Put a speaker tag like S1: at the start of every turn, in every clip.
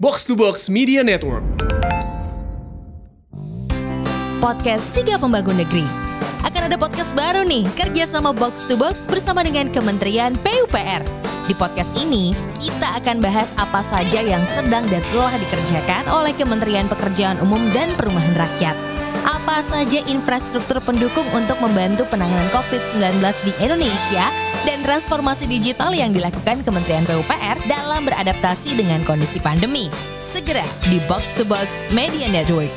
S1: Box to Box Media Network.
S2: podcast Siga Pembangun Negeri. Akan ada podcast baru nih, kerjasama Box to Box bersama dengan Kementerian PUPR. Di podcast ini, kita akan bahas apa saja yang sedang dan telah dikerjakan oleh Kementerian Pekerjaan Umum dan Perumahan Rakyat. Apa saja infrastruktur pendukung untuk membantu penanganan COVID-19 di Indonesia dan transformasi digital yang dilakukan Kementerian PUPR dalam beradaptasi dengan kondisi pandemi. Segera di Box to Box Media Network.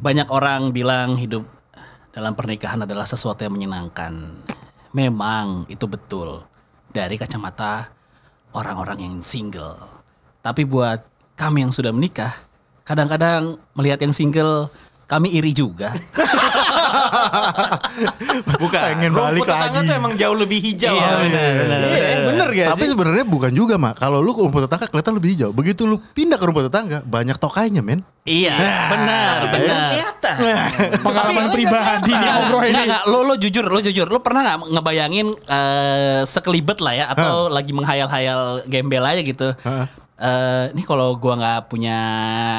S3: Banyak orang bilang hidup dalam pernikahan adalah sesuatu yang menyenangkan. Memang itu betul dari kacamata orang-orang yang single. Tapi buat kami yang sudah menikah, kadang-kadang melihat yang single kami iri juga.
S4: Bukan.
S5: Pengen balik
S4: Rumput tetangga
S5: lagi.
S4: tuh emang jauh lebih hijau.
S3: Iya, benar, benar,
S4: Iya,
S3: benar.
S4: bener gak
S5: Tapi
S4: sih?
S5: sebenarnya bukan juga, Mak. Kalau lu ke rumput tetangga kelihatan lebih hijau. Begitu lu pindah ke rumput tetangga, banyak tokainya, men.
S3: iya, benar, benar.
S4: kelihatan.
S6: pengalaman pribadi nih Om Roy
S3: Enggak,
S6: ini.
S3: enggak, Nah, lo lo jujur, lo jujur. Lo pernah nggak ngebayangin eh, sekelibet lah ya atau lagi menghayal-hayal gembel aja gitu.
S5: Heeh.
S3: Eh, ini kalau gua nggak punya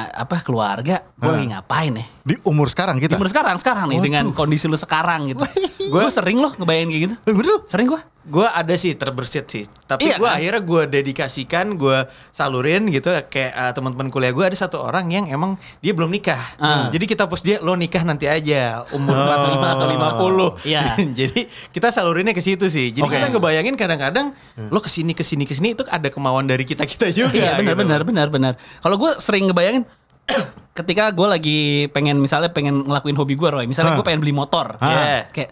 S3: apa keluarga, gua lagi ngapain ya?
S5: Di umur sekarang kita.
S3: Umur sekarang, sekarang nih dengan kondisi lu sekarang gitu. gua sering loh ngebayangin kayak gitu.
S5: Eh, bener lu?
S3: Sering gua.
S4: Gue ada sih terbersit sih. Tapi
S3: Iya,
S4: gue
S3: kan?
S4: akhirnya gue dedikasikan, gue salurin gitu. Kayak eh, teman-teman kuliah gue ada satu orang yang emang dia belum nikah.
S3: Ah.
S4: Hmm, Jadi kita post dia lo nikah nanti aja umur 45 atau 50.
S3: Oh. Iya.
S4: Jadi kita salurinnya ke situ sih. Jadi
S5: Oke.
S4: kita ngebayangin kadang-kadang lo kesini kesini kesini itu ada kemauan dari kita kita juga.
S3: Hmm. Iya benar
S4: gitu.
S3: benar benar benar. Kalau gue sering ngebayangin ketika gue lagi pengen misalnya pengen ngelakuin hobi gue Roy, misalnya
S5: Hah.
S3: gue pengen beli motor,
S4: Hah.
S3: kayak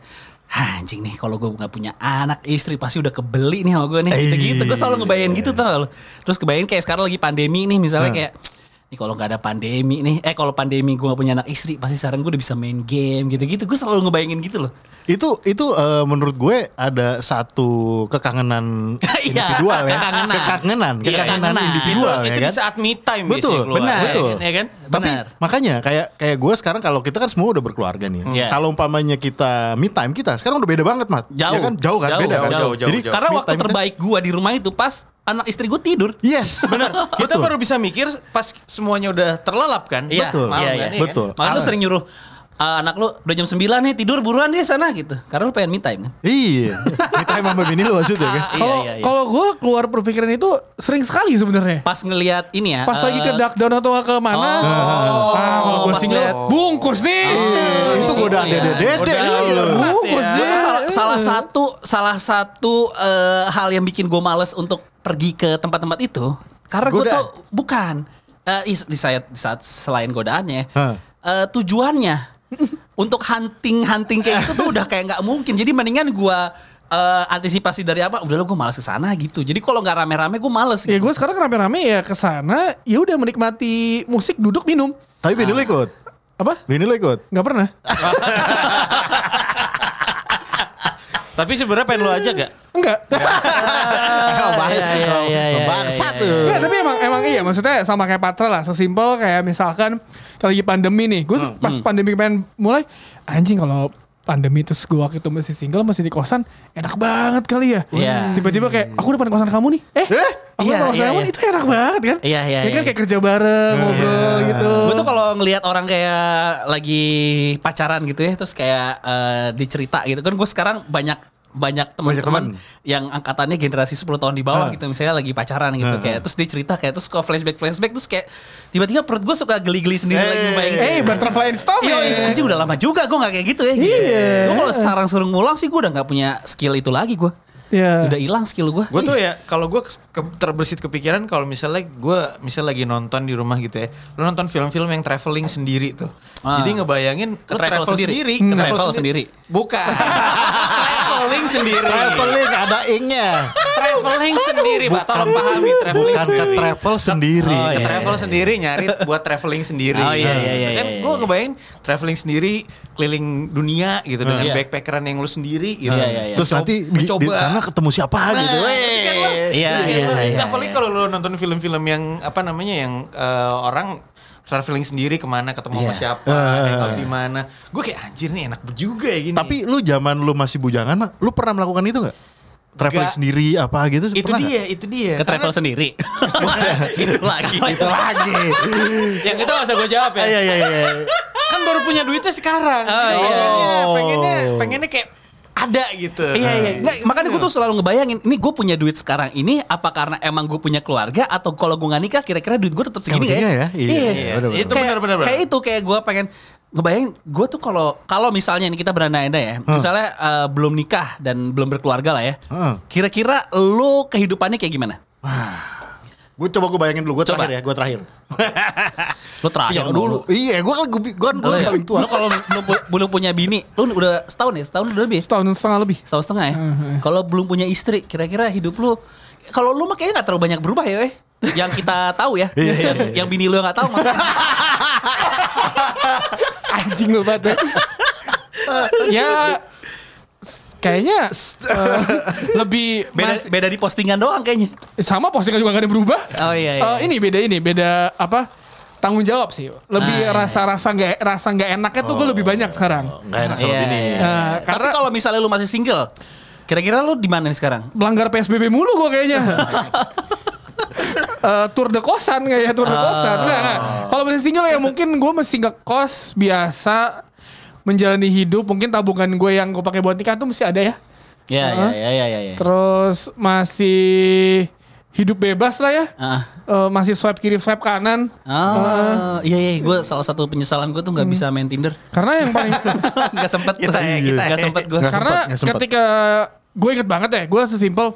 S3: "Hah, anjing nih kalau gue nggak punya anak istri pasti udah kebeli nih sama gue nih gitu gitu gue selalu ngebayangin gitu tau terus kebayangin kayak sekarang lagi pandemi nih misalnya kayak nih kalau nggak ada pandemi nih eh kalau pandemi gue nggak punya anak istri pasti sekarang gue udah bisa main game gitu gitu gue selalu ngebayangin gitu loh
S5: Itu itu eh, menurut gue ada satu kekangenan
S4: Iya,
S5: individual ya.
S3: kekangenan.
S5: Kekangenan,
S3: Iya,
S5: kekangenan
S3: kekangenan.
S5: individual
S4: itu
S5: ya
S4: itu
S5: kan.
S4: di saat me time
S5: Betul,
S4: biasanya keluar. Iya
S3: benar,
S5: betul.
S3: ya kan?
S5: Tapi
S3: Benar.
S5: makanya kayak kayak gue sekarang kalau kita kan semua udah berkeluarga nih. ya.
S3: Iya.
S5: Kalau umpamanya kita me time kita sekarang udah beda banget, Mat.
S3: jauh
S5: Ya kan? Jauh kan, beda kan.
S4: jauh, jauh,
S5: Jadi
S4: jauh.
S3: karena
S5: me
S3: waktu
S5: time kita-
S3: terbaik gue di rumah itu pas anak istri gue tidur
S5: Yes,
S4: Benar. Kita
S5: Betul.
S4: baru bisa mikir pas semuanya udah terlelap kan.
S3: Iya,
S5: Betul.
S3: iya,
S4: Malam
S3: iya.
S4: kan, iya
S5: Betul. Ah.
S3: Makanya lu sering nyuruh "Ah, anak lu udah jam 9 nih tidur buruan di sana gitu. Karena lu pengen me time kan.
S5: Iya. Me time sama bini lu maksudnya kan.
S3: Iya,
S6: Kalau
S3: iya, iya.
S6: kalau gue keluar berpikiran itu sering sekali sebenarnya.
S3: Pas ngelihat ini ya.
S6: Pas
S3: eh,
S6: lagi ke down atau ke mana?
S3: Oh.
S6: ah, kalau gue
S3: Pas
S6: single,
S3: ngeliat-
S6: bungkus nih.
S5: Iya, itu
S3: Iya,
S5: godaan
S3: iya.
S5: dede-dede.
S4: Godaan.
S5: lu.
S6: Bungkus
S3: Ah. Gua
S6: deh.
S3: salah, salah satu salah satu eh, hal yang bikin gue males untuk pergi ke tempat-tempat itu karena gue
S5: Godaan.
S3: tuh bukan eh, is- di saya di saat selain godaannya
S5: Hah.
S3: eh, tujuannya untuk hunting-hunting kayak gitu tuh udah kayak nggak mungkin jadi mendingan gue eh, antisipasi dari apa udah lo gue males ke sana gitu jadi kalau nggak rame-rame gue males
S6: Ya
S3: gitu.
S6: gue sekarang rame-rame ya ke sana, ya udah menikmati musik duduk minum.
S5: Tapi bini
S4: Ah.
S5: lu ikut.
S6: Apa?
S5: Bini lu ikut.
S4: Iya,
S6: Gak pernah.
S3: Ah.
S4: Tapi sebenarnya pengen lo aja gak?
S6: Enggak.
S3: iya, iya, iya, iya,
S5: Bangsa
S3: iya,
S5: tuh.
S6: Enggak, tapi emang emang iya maksudnya sama kayak Patra lah, sesimpel kayak misalkan kalau lagi pandemi nih, gue
S3: Hmm,
S6: pas pandemi kemarin mulai anjing kalau pandemi terus gue waktu itu masih single masih di kosan enak banget kali ya.
S3: Iya.
S6: Tiba-tiba kayak aku depan kosan kamu nih. Eh,
S5: Eh?
S6: aku
S3: Iya,
S6: depan kosan
S3: iya,
S6: kamu
S3: iya.
S6: nih, itu enak banget kan?
S3: Iya, iya,
S6: Ya kan
S3: iya.
S6: kayak kerja bareng, ngobrol gitu.
S3: Gue Ah. tuh kalau ngelihat orang kayak lagi pacaran gitu ya, terus kayak eh, dicerita gitu kan, gue sekarang banyak banyak teman-teman
S5: Banyak
S3: yang angkatannya generasi 10 tahun di bawah
S5: Ah.
S3: gitu misalnya lagi pacaran gitu kayak terus dia cerita kayak terus kok flashback flashback terus kayak tiba-tiba perut gue suka geli-geli sendiri lagi ngebayangin
S6: Eh, butterfly in stomach.
S3: Iya, iya, anjing udah lama juga gue gak kayak gitu ya. Gitu. Gue kalau sarang suruh ngulang sih gue udah gak punya skill itu lagi gue.
S6: Iya.
S3: Udah hilang skill gue.
S4: Gue tuh ya kalau gue ke- terbersit kepikiran kalau misalnya gue misal lagi nonton di rumah gitu ya, lo nonton film-film yang traveling sendiri tuh.
S3: Ah.
S4: Jadi ngebayangin
S3: Ke
S4: lo
S3: travel
S4: travel
S3: sendiri.
S4: sendiri,
S3: Ke
S4: ke
S3: travel sendiri.
S4: Bukan. travel traveling sendiri.
S5: Traveling ada ingnya.
S4: traveling sendiri, Pak. Tolong pahami traveling
S5: Bukan ke
S4: sendiri.
S5: travel sendiri.
S3: Oh,
S4: ke
S3: iya,
S4: travel
S3: iya,
S4: sendiri nyari buat traveling sendiri.
S3: Oh, iya, iya, iya,
S4: Kan
S3: iya,
S4: gue
S3: iya.
S4: ngebayangin traveling sendiri keliling dunia gitu dengan
S3: Iya.
S4: backpackeran yang lu sendiri gitu.
S3: Iya, iya, iya.
S5: Terus nanti di, di
S4: Mencoba.
S5: sana ketemu siapa gitu.
S4: Nah,
S5: Weh.
S4: kan lu-
S3: Iya, iya, iya,
S4: Nggak,
S3: iya.
S4: Apalagi Nah, kalau lu nonton film-film yang apa namanya yang eh, orang traveling sendiri kemana ketemu
S3: Iya.
S4: sama siapa, hangout di mana. Gue kayak anjir nih enak juga ya gini.
S5: Tapi lu zaman lu masih bujangan mah, lu pernah melakukan itu nggak? Traveling
S4: Nggak.
S5: sendiri apa gitu?
S4: itu
S5: pernah
S4: dia,
S5: nggak?
S4: itu dia.
S3: Ke travel sendiri. itu lagi.
S5: Itu lagi.
S3: yang itu gak usah gue jawab ya.
S5: Iya iya iya.
S4: kan baru punya duitnya sekarang.
S3: Oh,
S4: Jadi
S3: iya.
S4: pengennya- pengennya pengennya kayak ada gitu.
S3: Iya iya, Nggak, makanya gue tuh selalu ngebayangin, ini gue punya duit sekarang ini apa karena emang gue punya keluarga atau kalau gue nggak nikah kira-kira duit gue tetap segini nggak
S5: Sepertinya ya. Iya,
S3: Iya.
S5: iya, benar-benar.
S4: Itu
S3: kayak,
S4: benar-benar.
S3: kayak itu kayak gue pengen ngebayangin gue tuh kalau kalau misalnya ini kita berandai-andai ya,
S5: Hmm.
S3: misalnya eh, belum nikah dan belum berkeluarga lah ya,
S5: Heeh.
S3: kira-kira lo kehidupannya kayak gimana?
S5: Gue coba gue bayangin dulu, gue
S3: Coba.
S5: terakhir ya, gue terakhir.
S3: Lo terakhir
S5: Tengok dulu. Iya, gue kan gue gue
S3: Lo ya,
S5: paling tua.
S3: lo kalau belum, pu- belum punya bini, lo udah setahun ya, setahun udah lebih.
S6: Setahun setengah lebih.
S3: Setahun setengah ya. Kalau belum punya istri, kira-kira hidup lu kalau lu mah kayaknya gak terlalu banyak berubah ya, weh. Yang kita tahu ya. yang, yang bini lu yang gak tahu maksudnya.
S6: Anjing lu banget. ya s- kayaknya eh, lebih
S3: Beda,
S6: mas-
S3: beda di postingan doang kayaknya.
S6: Eh, sama postingan juga gak ada yang berubah.
S3: Oh, iya, iya.
S6: Eh, ini beda ini, beda apa? Tanggung jawab sih. Lebih
S3: Ah, iya.
S6: rasa-rasa nggak rasa nggak enaknya tuh gue lebih banyak sekarang.
S5: Gak enak sama
S3: Iya,
S5: bini.
S3: Oh. iya.
S6: Nah,
S3: Tapi
S6: karena-
S3: kalau misalnya lu masih single, kira-kira lu di mana nih sekarang?
S6: Melanggar PSBB mulu gue kayaknya. Eh, tour de kosan kayaknya tour de kosan. Nggak, nggak.
S3: Ah.
S6: Kalau masih single ya mungkin gue masih nggak kos biasa menjalani hidup. Mungkin tabungan gue yang gue pakai buat nikah tuh mesti ada ya.
S3: Ya, ya,
S6: Heeh.
S3: ya, ya, ya. ya.
S6: Terus masih hidup bebas lah ya.
S3: Ah.
S6: Eh, masih swipe kiri swipe kanan.
S3: Oh, iya iya, gue salah satu penyesalan gue tuh nggak bisa main Tinder,
S6: Karena yang paling
S3: nggak sempet,
S4: Kita ya, kita
S3: nggak
S4: ya.
S3: sempet gue.
S5: Nggak
S6: karena
S5: sempat, nggak sempat.
S6: ketika gue inget banget ya, gue sesimpel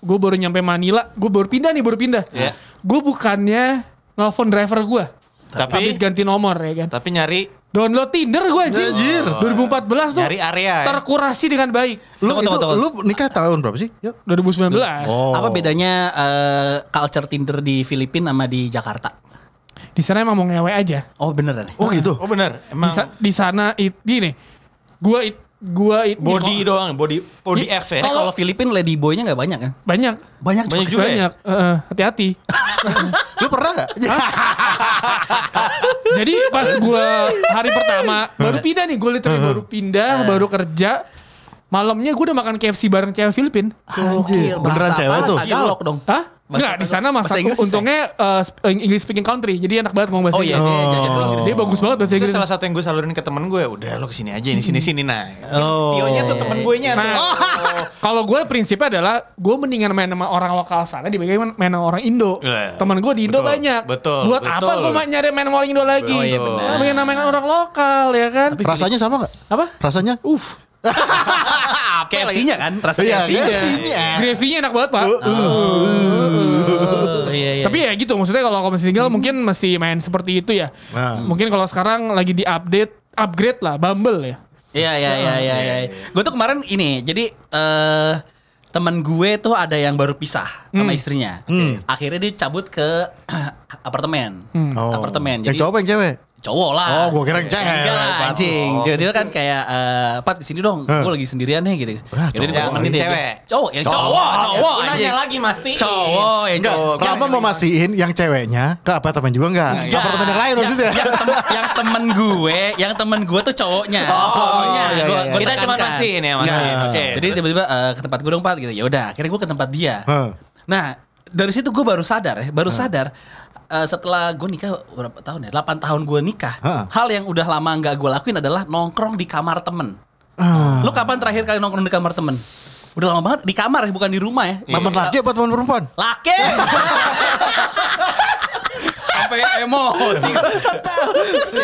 S6: gue baru nyampe Manila, gue baru pindah nih, baru pindah.
S4: Iya.
S6: Gue bukannya nelfon driver gue,
S4: Tapi-
S6: habis ganti nomor ya kan.
S4: Tapi nyari
S6: Download Tinder gue anjing. 2014 tuh.
S4: Nyari area ya.
S6: Terkurasi dengan baik.
S5: Lu
S3: Tunggu,
S5: itu
S3: tunggu, tunggu.
S5: lu nikah tahun berapa sih? Yuk.
S6: 2019.
S5: Oh.
S3: Apa bedanya eh, culture Tinder di Filipina sama di Jakarta?
S6: Di sana emang mau ngewe aja.
S3: Oh beneran ya?
S5: Oh gitu.
S4: Oh benar,
S6: Di,
S4: emang
S6: sa- di sana it, gini. Gua it, gua it,
S4: body
S6: kok-
S4: doang, body body
S6: Iya,
S4: F ya.
S3: Eh, kalau Filipin lady boy-nya nggak banyak kan?
S6: banyak.
S3: Banyak,
S4: Banyak
S3: coy.
S4: juga ya?
S6: Banyak. Eh, hati-hati.
S5: Lu pernah nggak?
S6: Jadi pas gua hari pertama baru pindah nih, gue literally baru pindah, baru kerja. Malamnya gue udah makan KFC bareng cewek Filipin.
S5: Anjir, beneran cewek tuh.
S3: Tagalok dong.
S6: Hah?
S3: Bahasa
S6: Enggak, di
S3: Tagalog.
S6: sana
S3: Bahasa
S6: masa
S3: Inggris bisa
S6: untungnya eh, sp- English speaking country. Jadi enak banget ngomong bahasa
S3: Oh iya,
S6: Inggris.
S3: dia jajan dulu.
S6: Jadi bagus banget bahasa
S4: Itu
S6: Inggris.
S4: salah satu yang gue salurin ke temen gue. Udah lo kesini aja ini sini sini nah.
S5: Oh.
S4: Pionnya tuh temen gue nya.
S6: Nah, kalau gue prinsipnya adalah gue mendingan main sama orang lokal sana dibanding main sama orang Indo.
S4: Iya.
S6: Temen gue di Indo
S4: Betul,
S6: banyak.
S4: betul,
S6: Buat
S4: betul.
S6: apa gue nyari main sama orang Indo lagi?
S3: Oh iya, benar.
S6: Nah, mendingan main sama orang lokal ya kan?
S5: Rasanya sama nggak?
S6: apa?
S5: Rasanya?
S3: Uh,
S6: Uff,
S3: KFC-nya kan? Rasanya
S5: Iya,
S3: KFC-nya.
S5: KFC-nya.
S6: gravy-nya enak banget pak.
S3: Oh, iya, iya.
S6: Tapi ya gitu, maksudnya kalau kamu single mungkin masih main seperti itu ya.
S5: Nah.
S6: Mungkin kalau sekarang lagi di update, upgrade lah, Bumble ya.
S3: Iya iya iya iya. iya. Gue tuh kemarin ini, jadi eh teman gue tuh ada yang baru pisah sama istrinya. Akhirnya dia cabut ke apartemen.
S5: Oh.
S3: Apartemen.
S5: Yang cowok apa yang cewek?
S3: cowok lah.
S5: Oh, gua kira yang cewek.
S3: Enggak lah,
S5: Pan.
S3: anjing.
S5: Oh.
S3: Dia, dia kan kayak eh Pat kesini dong, gue lagi sendirian nih gitu.
S5: Wah,
S3: Jadi dia
S5: cowok.
S3: nemenin dia.
S4: Cewek.
S3: Cowok, yang cowok, cowok.
S4: Lu
S3: anjing.
S4: nanya lagi pasti.
S3: Cowok, yang
S5: Enggak,
S3: cowok.
S5: Rama mau mastiin yang ceweknya ke apartemen juga enggak? Ke
S3: Enggak.
S5: apartemen yang lain maksudnya.
S3: Yang, tem- yang temen gue, yang temen gue tuh cowoknya. Suaminya.
S5: iya,
S3: Gua-
S5: iya,
S3: gua
S5: iya.
S4: Kita cuma
S3: tekankan.
S4: mastiin ya, mastiin.
S3: Iya.
S4: Oke,
S3: Jadi
S4: terus.
S3: tiba-tiba eh, ke tempat gue dong Pat gitu. Ya udah, akhirnya gue ke tempat dia.
S5: Hah.
S3: Nah, dari situ gue baru sadar ya, baru sadar eh, setelah gue nikah berapa tahun ya? 8 tahun gue nikah.
S5: Hah.
S3: Hal yang udah lama nggak gue lakuin adalah nongkrong di kamar temen.
S5: Ah.
S3: Lu kapan terakhir kali nongkrong di kamar temen? Udah lama banget di kamar ya,
S5: Iya.
S3: bukan di rumah ya.
S5: Teman laki apa teman perempuan?
S3: Laki.
S1: sampai emosi.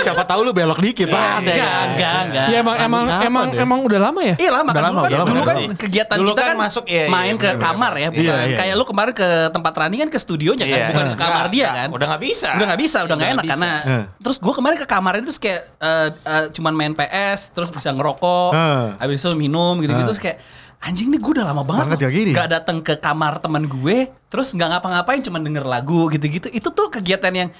S5: Siapa tahu lu belok
S4: Iya,
S5: dikit Pak.
S3: Enggak, enggak, enggak.
S6: Ya emang emang
S5: kapan
S6: emang
S5: ya?
S6: emang udah lama ya?
S3: eh, Iya lama
S5: iya. Udah
S3: kan
S5: lama,
S3: dulu kan,
S5: udah lama,
S3: dulu
S5: udah
S3: kan
S5: lama.
S3: kegiatan
S4: Dulu
S3: kita
S4: kan
S3: kan,
S4: masuk, iya, iya,
S3: main ke kamar ya, bukan
S5: Iya, iya.
S3: kayak lu kemarin ke tempat Rani kan ke studionya kan,
S4: Iya.
S3: bukan ke
S4: Nggak,
S3: kamar dia kan.
S4: Udah nggak bisa.
S3: Udah nggak bisa, udah nggak enak
S4: bisa.
S3: karena
S5: Heeh.
S3: terus gue kemarin ke kamarnya terus kayak eh, eh, cuman main PS, terus bisa ngerokok,
S5: Heeh.
S3: habis itu minum gitu-gitu terus kayak anjing nih gue udah lama banget
S5: Banget
S3: loh
S5: ya gini.
S3: nggak datang ke kamar teman gue, terus nggak ngapa-ngapain cuman denger lagu gitu-gitu. Itu tuh kegiatan yang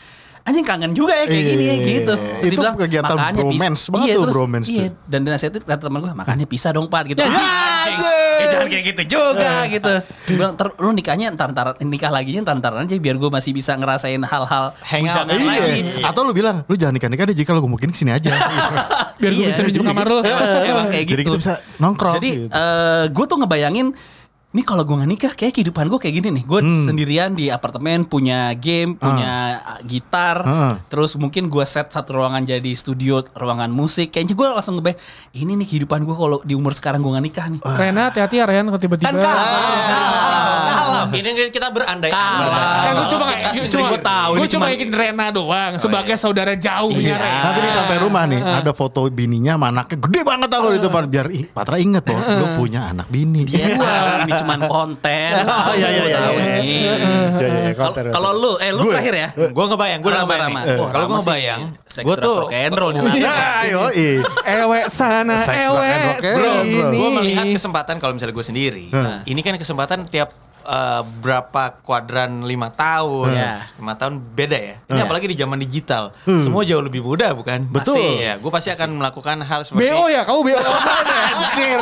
S3: anjing kangen juga ya kayak
S5: Iya,
S3: gini ya
S5: iya,
S3: gitu.
S5: iya.
S3: Terus
S5: Itu
S3: dia bilang,
S5: kegiatan
S3: "Makanya bisa."
S5: bromance banget
S3: Iya,
S5: tuh,
S3: terus-
S5: bromance
S3: Iya,
S5: tuh.
S3: dan dinasihatin kata teman gue makanya pisah dong Pat gitu.
S6: Ya,
S3: Ya,
S6: anjing.
S3: anjing. Ya, jangan kayak gitu juga gitu. Dia bilang "Ntar lu nikahnya entar entar nikah lagi entar entar aja biar gue masih bisa ngerasain hal-hal
S4: Hangout.
S3: bujangan
S5: Iya.
S3: lagi.
S5: Atau lu bilang, lu jangan nikah-nikah deh jika lu mungkin kesini aja.
S6: Biar gue
S3: Iya.
S6: bisa minjem kamar lu.
S3: Emang kayak gitu.
S5: Jadi kita bisa nongkrong
S3: Jadi
S5: gitu.
S3: gue tuh ngebayangin nih kalau gue gak nikah kayak kehidupan gue kayak gini nih. Gue
S5: Hmm.
S3: sendirian di apartemen punya game, punya uh, gitar,
S5: Ah.
S3: terus mungkin gue set satu ruangan jadi studio, ruangan musik. Kayaknya gue langsung ngebayang ini nih kehidupan gue kalau di umur sekarang gue gak nikah nih.
S6: Rena hati-hati ya Ren kalau tiba-tiba.
S3: Kan
S4: Ah.
S3: kalah.
S4: Kalah. Ini kita berandai-andai.
S3: Kalah.
S6: Kan gue cuma
S4: Kita
S6: gue
S3: sendiri
S6: cuma
S3: gua tahu,
S6: Gue
S3: ini
S6: cuma
S3: cuma-
S6: ingin Rena doang sebagai saudara
S5: Iya.
S6: jauhnya Rena.
S5: Nanti nih sampai rumah nih ada foto bininya sama anaknya gede banget aku itu Pak. biar ih, Patra inget loh lu punya anak bini.
S3: Dia tahu Iya. ini cuman konten.
S5: Oh, iya, iya, iya,
S3: Tahu
S5: iya.
S3: nih.
S5: Iya, iya, iya,
S3: Kalau-
S5: konten,
S3: Kalau
S5: konten.
S3: lu, eh lu
S5: Gue?
S3: terakhir ya.
S4: Gue ngebayang, gue udah
S3: Rama,
S4: ngebayang.
S3: Rama.
S4: nih.
S3: Wah,
S4: Kalau gue
S3: Rama sih
S4: ngebayang,
S3: sex,
S4: gue
S3: drugs,
S4: tuh Iya.
S3: rock and roll nih.
S5: Ya, yoi.
S6: Ewe sana,
S5: Seks,
S6: ewe
S5: rock and roll,
S6: sini.
S5: bro, bro.
S4: gue melihat kesempatan kalau misalnya gue sendiri.
S5: Hmm.
S4: Ini kan kesempatan tiap eh, berapa kuadran lima tahun,
S3: Iya.
S4: lima tahun beda ya. Ini
S3: Iya.
S4: apalagi di zaman digital, semua jauh lebih mudah bukan?
S5: Betul.
S4: Pasti ya, gue pasti akan melakukan hal seperti
S6: BO ya, kamu BO apaan ya?
S5: Anjir.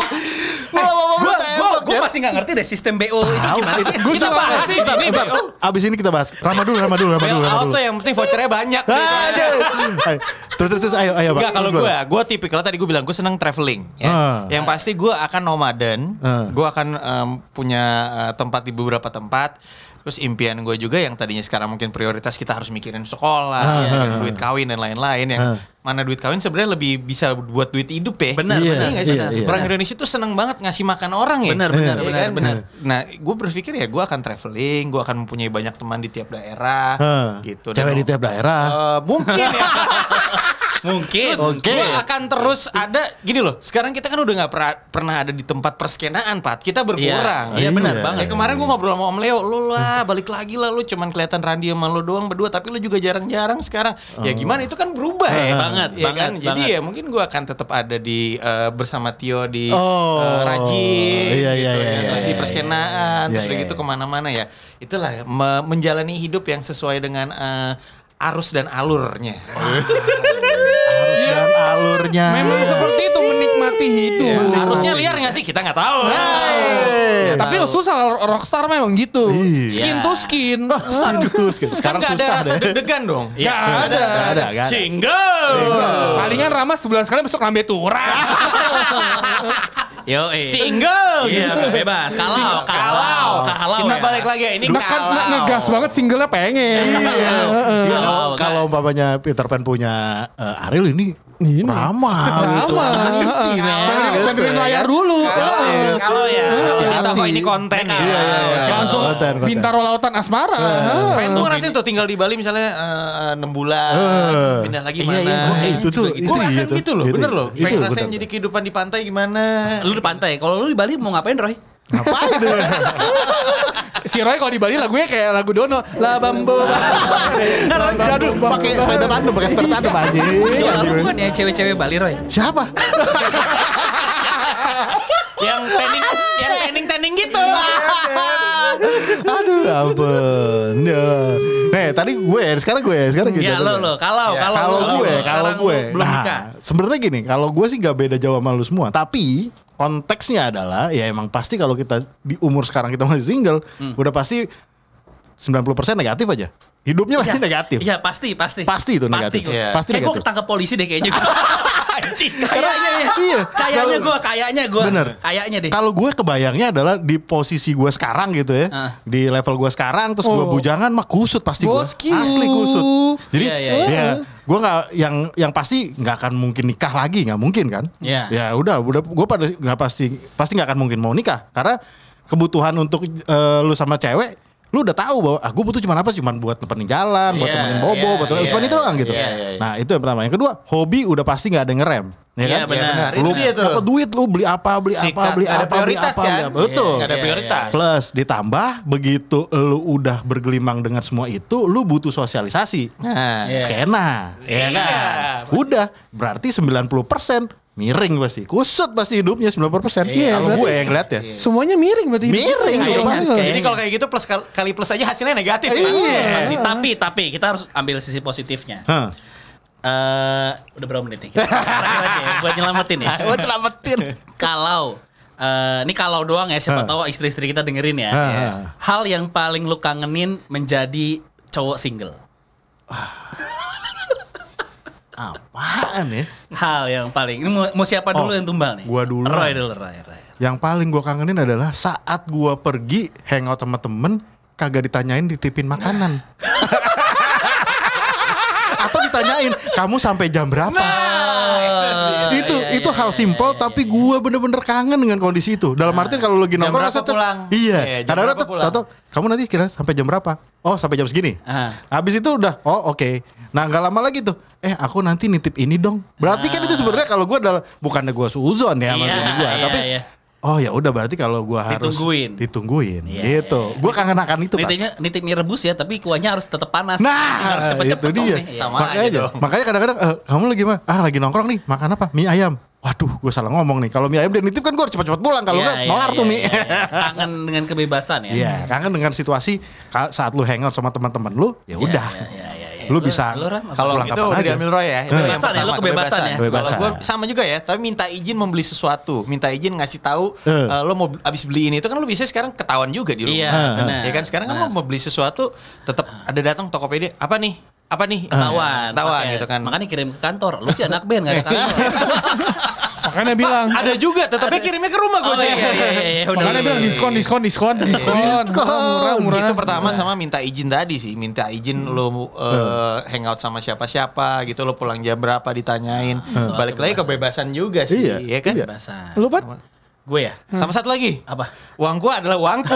S5: Malah bapak
S3: Gue
S5: tembak,
S3: gue
S5: ya.
S3: masih gak ngerti deh sistem BO itu gimana sih.
S6: Gua
S3: Kita
S6: cuma
S3: bahas di
S6: ngerti-
S3: sini
S5: Bentar,
S3: BO.
S5: Abis ini kita bahas. Rama dulu, Rama dulu, Rama dulu, Rama
S4: Bailout
S5: dulu.
S4: tuh yang penting vouchernya banyak.
S5: Ah,
S4: gitu.
S5: Anjir. Ayo, Terus terus terus ayo ayo Pak.
S4: Enggak kalau
S5: Gimana?
S4: gue, gue tipikal tadi gue bilang gue seneng traveling. Ya.
S5: Ah.
S4: Yang pasti gue akan nomaden,
S5: Ah.
S4: gue akan em, punya eh, tempat di beberapa tempat. Terus impian gue juga yang tadinya sekarang mungkin prioritas kita harus mikirin sekolah, ya, kan, duit kawin dan lain-lain. Yang
S5: Ah.
S4: mana duit kawin sebenarnya lebih bisa buat duit hidup ya.
S3: Benar,
S5: Iya,
S4: benar nggak sih?
S5: iya, iya.
S4: Orang Indonesia tuh seneng banget ngasih makan orang ya.
S3: Benar, benar,
S4: Iya
S3: benar,
S4: kan?
S3: benar.
S4: Nah, gue berpikir ya gue akan traveling, gue akan mempunyai banyak teman di tiap daerah,
S5: Hah.
S4: gitu.
S5: Ah.
S4: Dan-
S5: Cewek di tiap daerah.
S4: Eh, mungkin ya.
S3: Mungkin.
S4: Terus gue akan terus ada gini loh. Sekarang kita kan udah nggak pra- pernah ada di tempat perskenaan, Pat. Kita berkurang.
S3: Iya,
S5: Iya.
S3: benar
S4: Kayak
S3: banget.
S4: kemarin gue ngobrol sama Om Leo, lu lah balik lagi lah lu cuman kelihatan Randi sama lu doang berdua tapi lu juga jarang-jarang sekarang.
S5: Oh.
S4: Ya gimana itu kan berubah ya.
S3: Iya, Banget,
S4: ya kan?
S3: banget,
S4: Jadi
S3: banget.
S4: ya mungkin gue akan tetap ada di eh, bersama Tio di
S5: Oh,
S4: eh, Rajin
S5: iya, iya, iya,
S4: gitu ya.
S5: iya,
S4: terus di
S5: iya,
S4: perskenaan,
S5: iya,
S4: terus
S5: iya,
S4: udah
S5: iya.
S4: gitu kemana-mana ya. Itulah me- menjalani hidup yang sesuai dengan eh, arus dan alurnya.
S5: Oh, Harus dan alurnya.
S6: Memang seperti itu menikmati
S4: Iya,
S6: hidup.
S4: Harusnya liar gak sih? Kita nggak tahu. Nah,
S5: Hey.
S6: Tapi susah kalau rockstar memang gitu.
S5: Iya.
S6: Skin to skin.
S5: Sintus. Sekarang
S4: kan gak ada
S5: susah
S4: rasa
S5: deh.
S4: deg-degan dong.
S6: Ya ada.
S5: Nggak ada, nggak ada.
S4: Single.
S6: Palingan Rama sebulan sekali besok ngambil turah.
S3: Yo, eh.
S4: Single. Gitu.
S3: Iya, bebas. Kalau, kalau, kalau.
S4: Kita
S3: ya.
S4: balik lagi ya. Ini
S6: Nah, kan
S4: kalau.
S6: ngegas banget singlenya pengen.
S5: Iya. Iya, kalau-
S3: Kalau-
S5: Kalau umpamanya Peter Pan punya eh, Ariel ini
S6: Ini.
S5: Rama gitu.
S6: Rama. Pengen dipesanderin layar dulu.
S4: Kalau ya. Kalau ya. Kalau Ini
S5: Hati.
S4: toko ini konten.
S3: Iya, iya, iya.
S5: Iya,
S6: Langsung
S5: konten, konten. Iya.
S6: bintaro lautan asmara. ya.
S4: Pengen tuh ngerasain tuh tinggal di Bali misalnya eh, enam bulan.
S5: Eh.
S4: Pindah lagi
S3: Iya,
S4: mana.
S3: iya,
S5: Wah,
S3: Eh,
S5: itu tuh
S4: Gue akan gitu loh.
S5: itu.
S4: Bener loh.
S5: Itu
S4: Pengen ngerasain
S5: bener.
S4: jadi kehidupan di pantai gimana.
S3: Lu di pantai. Kalau lu di Bali mau ngapain, Roy?
S5: Ngapain lu?
S6: Si Roy kalau di Bali lagunya kayak lagu Dono. La Bambo.
S5: Jadul pakai sepeda tandem, pakai sepeda tandem anjing.
S3: Jual
S5: iya.
S3: lu Iya, bukan ya cewek-cewek Bali, Roy?
S5: Siapa?
S4: Yang tanning. Yang tanning-tanning gitu.
S3: Iya,
S5: Aduh, ampun. Ya Allah. Nih, tadi gue, sekarang gue, sekarang gitu.
S3: Iya, lo, lo. Kalau,
S4: Ya,
S3: kalau.
S5: Kalau
S3: lu,
S5: gue,
S3: sekarang
S5: kalau
S3: lu
S5: gue.
S3: Belum nikah.
S5: Nah, sebenarnya gini, kalau gue sih gak beda jauh sama lu semua, tapi konteksnya adalah ya emang pasti kalau kita di umur sekarang kita masih single,
S3: Hmm.
S5: udah pasti 90% negatif aja. Hidupnya pasti negatif.
S3: Iya pasti pasti.
S5: Pasti itu
S3: pasti,
S5: negatif.
S3: Gua.
S5: Iya. Pasti
S3: Pasti kayak gue
S5: negatif.
S3: ketangkep polisi deh kayaknya. Anjing, kayaknya ya.
S5: Iya.
S3: Kayaknya
S5: Kalau-
S3: gue, kayaknya gue.
S5: Bener.
S3: Kayaknya deh.
S5: Kalau gue kebayangnya adalah di posisi gue sekarang gitu ya,
S3: Ah.
S5: di level gue sekarang, terus gue
S6: Oh.
S5: bujangan mah kusut pasti gue,
S6: Bosku.
S5: asli kusut. Jadi
S3: Iya, iya,
S5: ya,
S7: Oh.
S3: iya.
S5: gue nggak yang yang pasti nggak akan mungkin nikah lagi, nggak mungkin kan?
S3: Iya.
S5: Ya udah, udah gue pada nggak pasti pasti nggak akan mungkin mau nikah karena kebutuhan untuk eh, lu sama cewek lu udah tahu bahwa ah gue butuh cuman apa cuman buat nemenin jalan buat
S7: Iya,
S5: temenin bobo
S7: iya,
S5: buat temenin-
S7: iya,
S5: cuman itu doang gitu
S7: iya, iya.
S5: nah itu yang pertama yang kedua hobi udah pasti nggak ada yang ngerem ya
S7: Iya,
S5: kan
S7: benar. Itu
S5: lu
S7: dia tuh.
S5: apa duit lu beli apa beli apa
S7: Sikat,
S5: beli
S7: nggak ada
S5: apa beli
S7: prioritas
S5: apa,
S7: kan?
S5: beli apa. betul
S4: Gak ada
S7: Iya,
S4: prioritas.
S5: Plus ditambah begitu lu udah bergelimang dengan semua itu, lu butuh sosialisasi.
S4: Nah,
S7: Iya.
S5: Skena, ya
S4: Iya,
S5: kan? Udah, berarti 90% miring pasti. Kusut pasti hidupnya 90%.
S6: Iya,
S5: Kalau
S6: berarti-
S5: gue yang ngeliat ya.
S6: Semuanya miring berarti. hidup kita.
S5: Miring,
S6: Iya,
S5: iya, Iya.
S6: banget.
S5: Mas,
S4: Jadi kalau kayak gitu plus kal- kali plus aja hasilnya negatif. Pak.
S3: Iya, Pasti. Tapi tapi kita harus ambil sisi positifnya.
S5: Hah.
S3: Eh, udah berapa menit nih? Kita terakhir aja ya, buat nyelamatin ya.
S5: Gue selamatin.
S3: kalau eh, ini kalau doang ya siapa
S5: Hah.
S3: tahu istri-istri kita dengerin ya.
S5: Hah.
S3: Ya. Hal yang paling lu kangenin menjadi cowok single.
S5: Apaan ya?
S3: Hal yang paling ini mau, mau siapa dulu
S5: Oh,
S3: yang tumbal nih?
S5: gua dulu.
S3: Roy dulu Roy. Roy.
S5: Yang paling gue kangenin adalah saat gue pergi hangout sama temen, kagak ditanyain ditipin makanan. Atau ditanyain, kamu sampai jam berapa?
S3: Nah,
S5: itu
S3: iya,
S5: itu hal simpel tapi gue bener-bener kangen dengan kondisi itu dalam artian kalau lu lagi
S7: Jam
S5: nongkrong
S7: berapa
S5: set- set-
S7: pulang?
S5: iya
S4: Iya, jam
S5: kadang-kadang
S4: berapa
S5: tet-
S4: pulang?
S5: tahu kamu nanti kira sampai jam berapa oh sampai jam segini
S3: Ah.
S5: habis itu udah oh oke nah nggak lama lagi tuh eh aku nanti nitip ini dong berarti kan itu sebenarnya kalau gue adalah bukannya gue suzon
S3: Iya,
S5: ya maksudnya gue
S3: iya,
S5: tapi
S3: iya.
S5: Oh ya udah berarti kalau gue harus
S3: Ditungguin.
S5: ditungguin,
S3: Iya,
S5: gitu. Gue kangen akan itu. Pak.
S3: Nitipnya nitip mie rebus ya, tapi kuahnya harus tetap panas.
S5: Nah,
S3: Anjing, harus cepet-cepet
S5: itu
S3: dong
S5: dia.
S3: nih. Iya.
S4: Sama
S5: makanya,
S4: aja dong.
S5: makanya kadang-kadang eh, kamu lagi mah ah lagi nongkrong nih, makan apa? Mie ayam. Waduh, gue salah ngomong nih. Kalau mie ayam dia nitip kan gue harus cepat-cepat pulang
S3: Iya,
S5: kalau nggak
S3: iya,
S5: kelar tuh
S3: iya,
S5: mie.
S3: iya, iya. Kangen dengan kebebasan ya.
S5: Iya, kangen dengan situasi ka- saat lu hangout sama teman-teman lu, ya udah.
S3: iya, iya, iya.
S5: Lu
S3: Lu-
S5: bisa
S3: lu, Ram, apa?
S4: Kalau
S5: pulang
S4: gitu
S5: kapan
S4: udah
S5: aja.
S4: diambil Roy ya. Itu yang
S3: Kebebasan ya,
S4: pertama,
S3: lu kebebasan ya.
S5: Kebebasan.
S4: Kalau gue sama juga ya, tapi minta izin membeli sesuatu, minta izin ngasih tahu
S5: Eh.
S4: eh, lo mau abis beli ini itu kan lo bisa sekarang ketahuan juga di rumah.
S3: Iya, benar.
S4: Ya kan sekarang kan
S3: Benar.
S4: lo mau beli sesuatu tetap ada datang Tokopedia, apa nih? Apa nih?
S3: Tawan, Eh.
S4: Tawan
S3: pakai.
S4: gitu kan.
S3: Makanya kirim ke kantor. Lu sih anak band gak ada kantor.
S5: Iya.
S6: Makanya bilang.
S4: ada juga, tetapi kirimnya ke rumah gue.
S3: Oh, iya, iya, iya, iya, udah,
S6: Makanya
S3: iya,
S6: bilang
S3: iya,
S6: diskon,
S3: iya.
S6: diskon, diskon, diskon. kan Murah, murah, murah.
S4: itu pertama sama minta izin tadi sih minta izin lo uh, hangout sama siapa-siapa gitu lo pulang jam berapa ditanyain balik lagi kebebasan juga sih
S5: Iya,
S4: ya kan
S5: iya.
S3: Kebebasan.
S6: Lu Pat?
S3: Gue ya?
S4: sama satu lagi
S3: Apa?
S4: uangku adalah uangku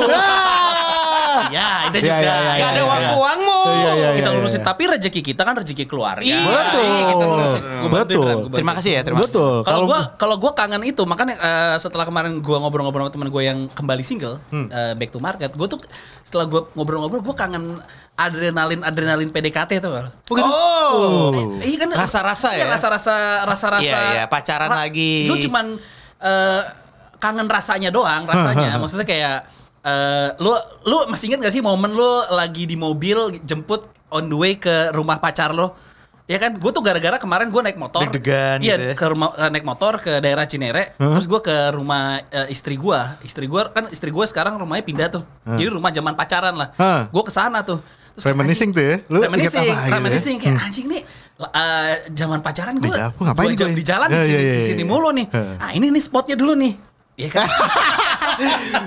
S3: Ya, itu juga.
S5: Iya, iya, iya,
S4: gak
S5: iya,
S4: ada
S5: iya.
S4: uangku uangmu
S5: Iya, iya,
S3: Kita
S5: iya,
S3: lurusin.
S5: iya.
S3: Tapi rezeki kita kan rezeki keluarga.
S4: Iya,
S5: Betul.
S3: Iya, kita lurusin. Gua bantuin,
S5: Betul.
S3: Ram, gua bantuin.
S4: terima kasih ya terima kasih
S5: Betul.
S3: Kalau gua kalau gua kangen itu makanya eh, setelah kemarin gua ngobrol-ngobrol sama teman gua yang kembali single eh, back to market, gua tuh setelah gua ngobrol-ngobrol gua kangen adrenalin adrenalin PDKT tuh. Bal.
S4: oh
S3: Eh, Iya kan
S4: Rasa-rasa
S3: iya,
S4: ya?
S3: rasa-rasa rasa-rasa
S4: Iya, iya, pacaran lagi.
S3: Lu cuman eh, kangen rasanya doang, rasanya. Maksudnya kayak eh, lu lu masih ingat gak sih momen lu lagi di mobil jemput on the way ke rumah pacar lo? Ya kan, gue tuh gara-gara kemarin gue naik motor,
S4: Deg-degan
S3: iya
S4: gitu ya.
S3: ke rumah eh, naik motor ke daerah Cinere, terus gue ke rumah eh, istri gue, istri gue kan istri gue sekarang rumahnya pindah tuh, jadi rumah zaman pacaran lah,
S5: Hah.
S3: gue ke sana tuh, Terus kayak,
S5: Reminiscing tuh ya? Lu
S3: Lu
S5: ingat
S3: reminiscing,
S5: apa gitu ya?
S3: reminiscing kayak anjing nih la- eh, zaman pacaran gue
S5: Di dapur ngapain
S3: dua jam
S5: gue?
S3: di jalan di
S5: Ya,
S3: sini,
S5: ya,
S3: di
S5: ya, ya.
S3: sini mulu nih.
S5: Heeh.
S3: Ah ini nih spotnya dulu nih. Iya kan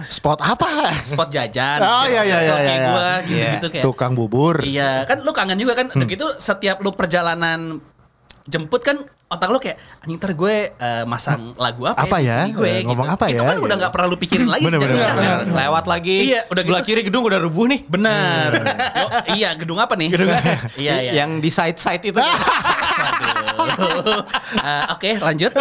S5: spot apa?
S3: spot jajan. gitu,
S5: Oh, iya, iya, iya,
S3: Kayak
S5: iya.
S3: gue gitu-gitu kayak.
S5: Tukang Hmm. bubur.
S3: Iya, kan lu kangen juga kan. Udah gitu setiap lu perjalanan jemput kan otak lu kayak anjing ntar gue eh, masang lagu apa,
S5: Apa
S3: di
S5: ya?
S3: sini gue
S5: Eh, ngomong apa
S3: Itu
S5: ya?
S3: kan udah
S5: Iya.
S3: nggak perlu pikirin lagi
S5: Bener,
S3: sejak
S5: bener,
S3: jalan.
S5: bener, bener.
S4: lewat lagi
S3: Iya, udah
S4: sebelah
S3: gitu.
S4: kiri gedung udah rubuh nih
S3: Bener. Yo, iya, gedung apa nih? Gedung Iya, iya.
S4: yang di side side itu
S3: Aduh. Eh, Oke lanjut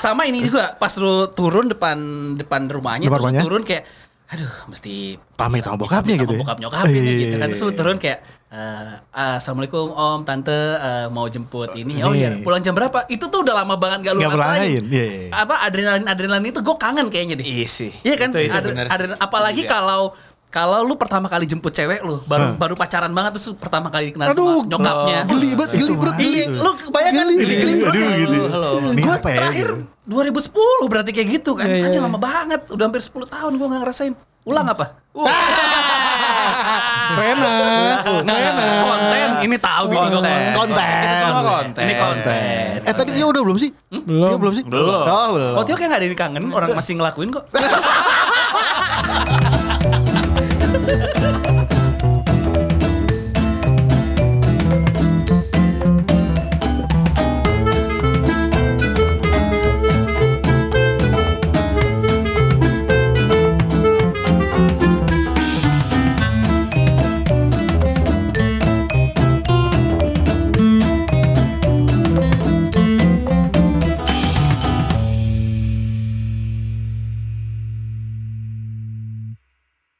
S3: Sama ini juga Pas lu turun depan depan rumahnya
S5: Depan
S3: Terus lu
S5: rumahnya?
S3: turun kayak Aduh mesti
S5: Pamit sama bokapnya
S3: pamit
S5: gitu
S3: sama
S5: ya?
S3: bokap nyokapnya
S5: Iya,
S3: gitu kan
S5: iya,
S3: Terus lu
S5: iya.
S3: turun kayak eh, Assalamualaikum om tante eh, Mau jemput ini Oh iya
S5: Nih.
S3: pulang jam berapa Itu tuh udah lama banget gak lu
S5: Nggak
S3: rasain
S5: berlain, iya, iya.
S3: Apa adrenalin-adrenalin itu gue kangen kayaknya deh
S4: Iya sih.
S3: Iya kan
S4: Itu- itu
S3: Adre-
S4: bener sih.
S3: adrenalin- Apalagi
S4: Iya.
S3: kalau kalau lu pertama kali jemput cewek lu baru baru pacaran banget terus pertama kali kenal
S6: Aduh,
S3: sama nyokapnya
S5: Geli banget, geli bro.
S3: Iya, lu kebayangkan
S5: Geli,
S3: geli,
S5: geli,
S3: geli,
S5: aduh,
S3: geli.
S5: gitu.
S3: Halo, halo.
S5: Ini
S3: Gua
S5: apa ya,
S3: terakhir
S5: gitu?
S3: 2010 berarti kayak gitu kan.
S6: Iya, iya,
S3: Anjing
S6: iya.
S3: lama banget, udah hampir 10 tahun gua nggak ngerasain. Ulang apa?
S6: Rena. Rena.
S3: konten ini tahu gitu konten.
S5: Konten.
S4: Kita semua konten.
S3: Ini konten.
S5: Eh tadi dia udah belum sih? Belum. Dia belum sih?
S4: Belum.
S5: Oh, belum.
S3: Oh, Tio kayak gak ada yang kangen, orang masih ngelakuin kok.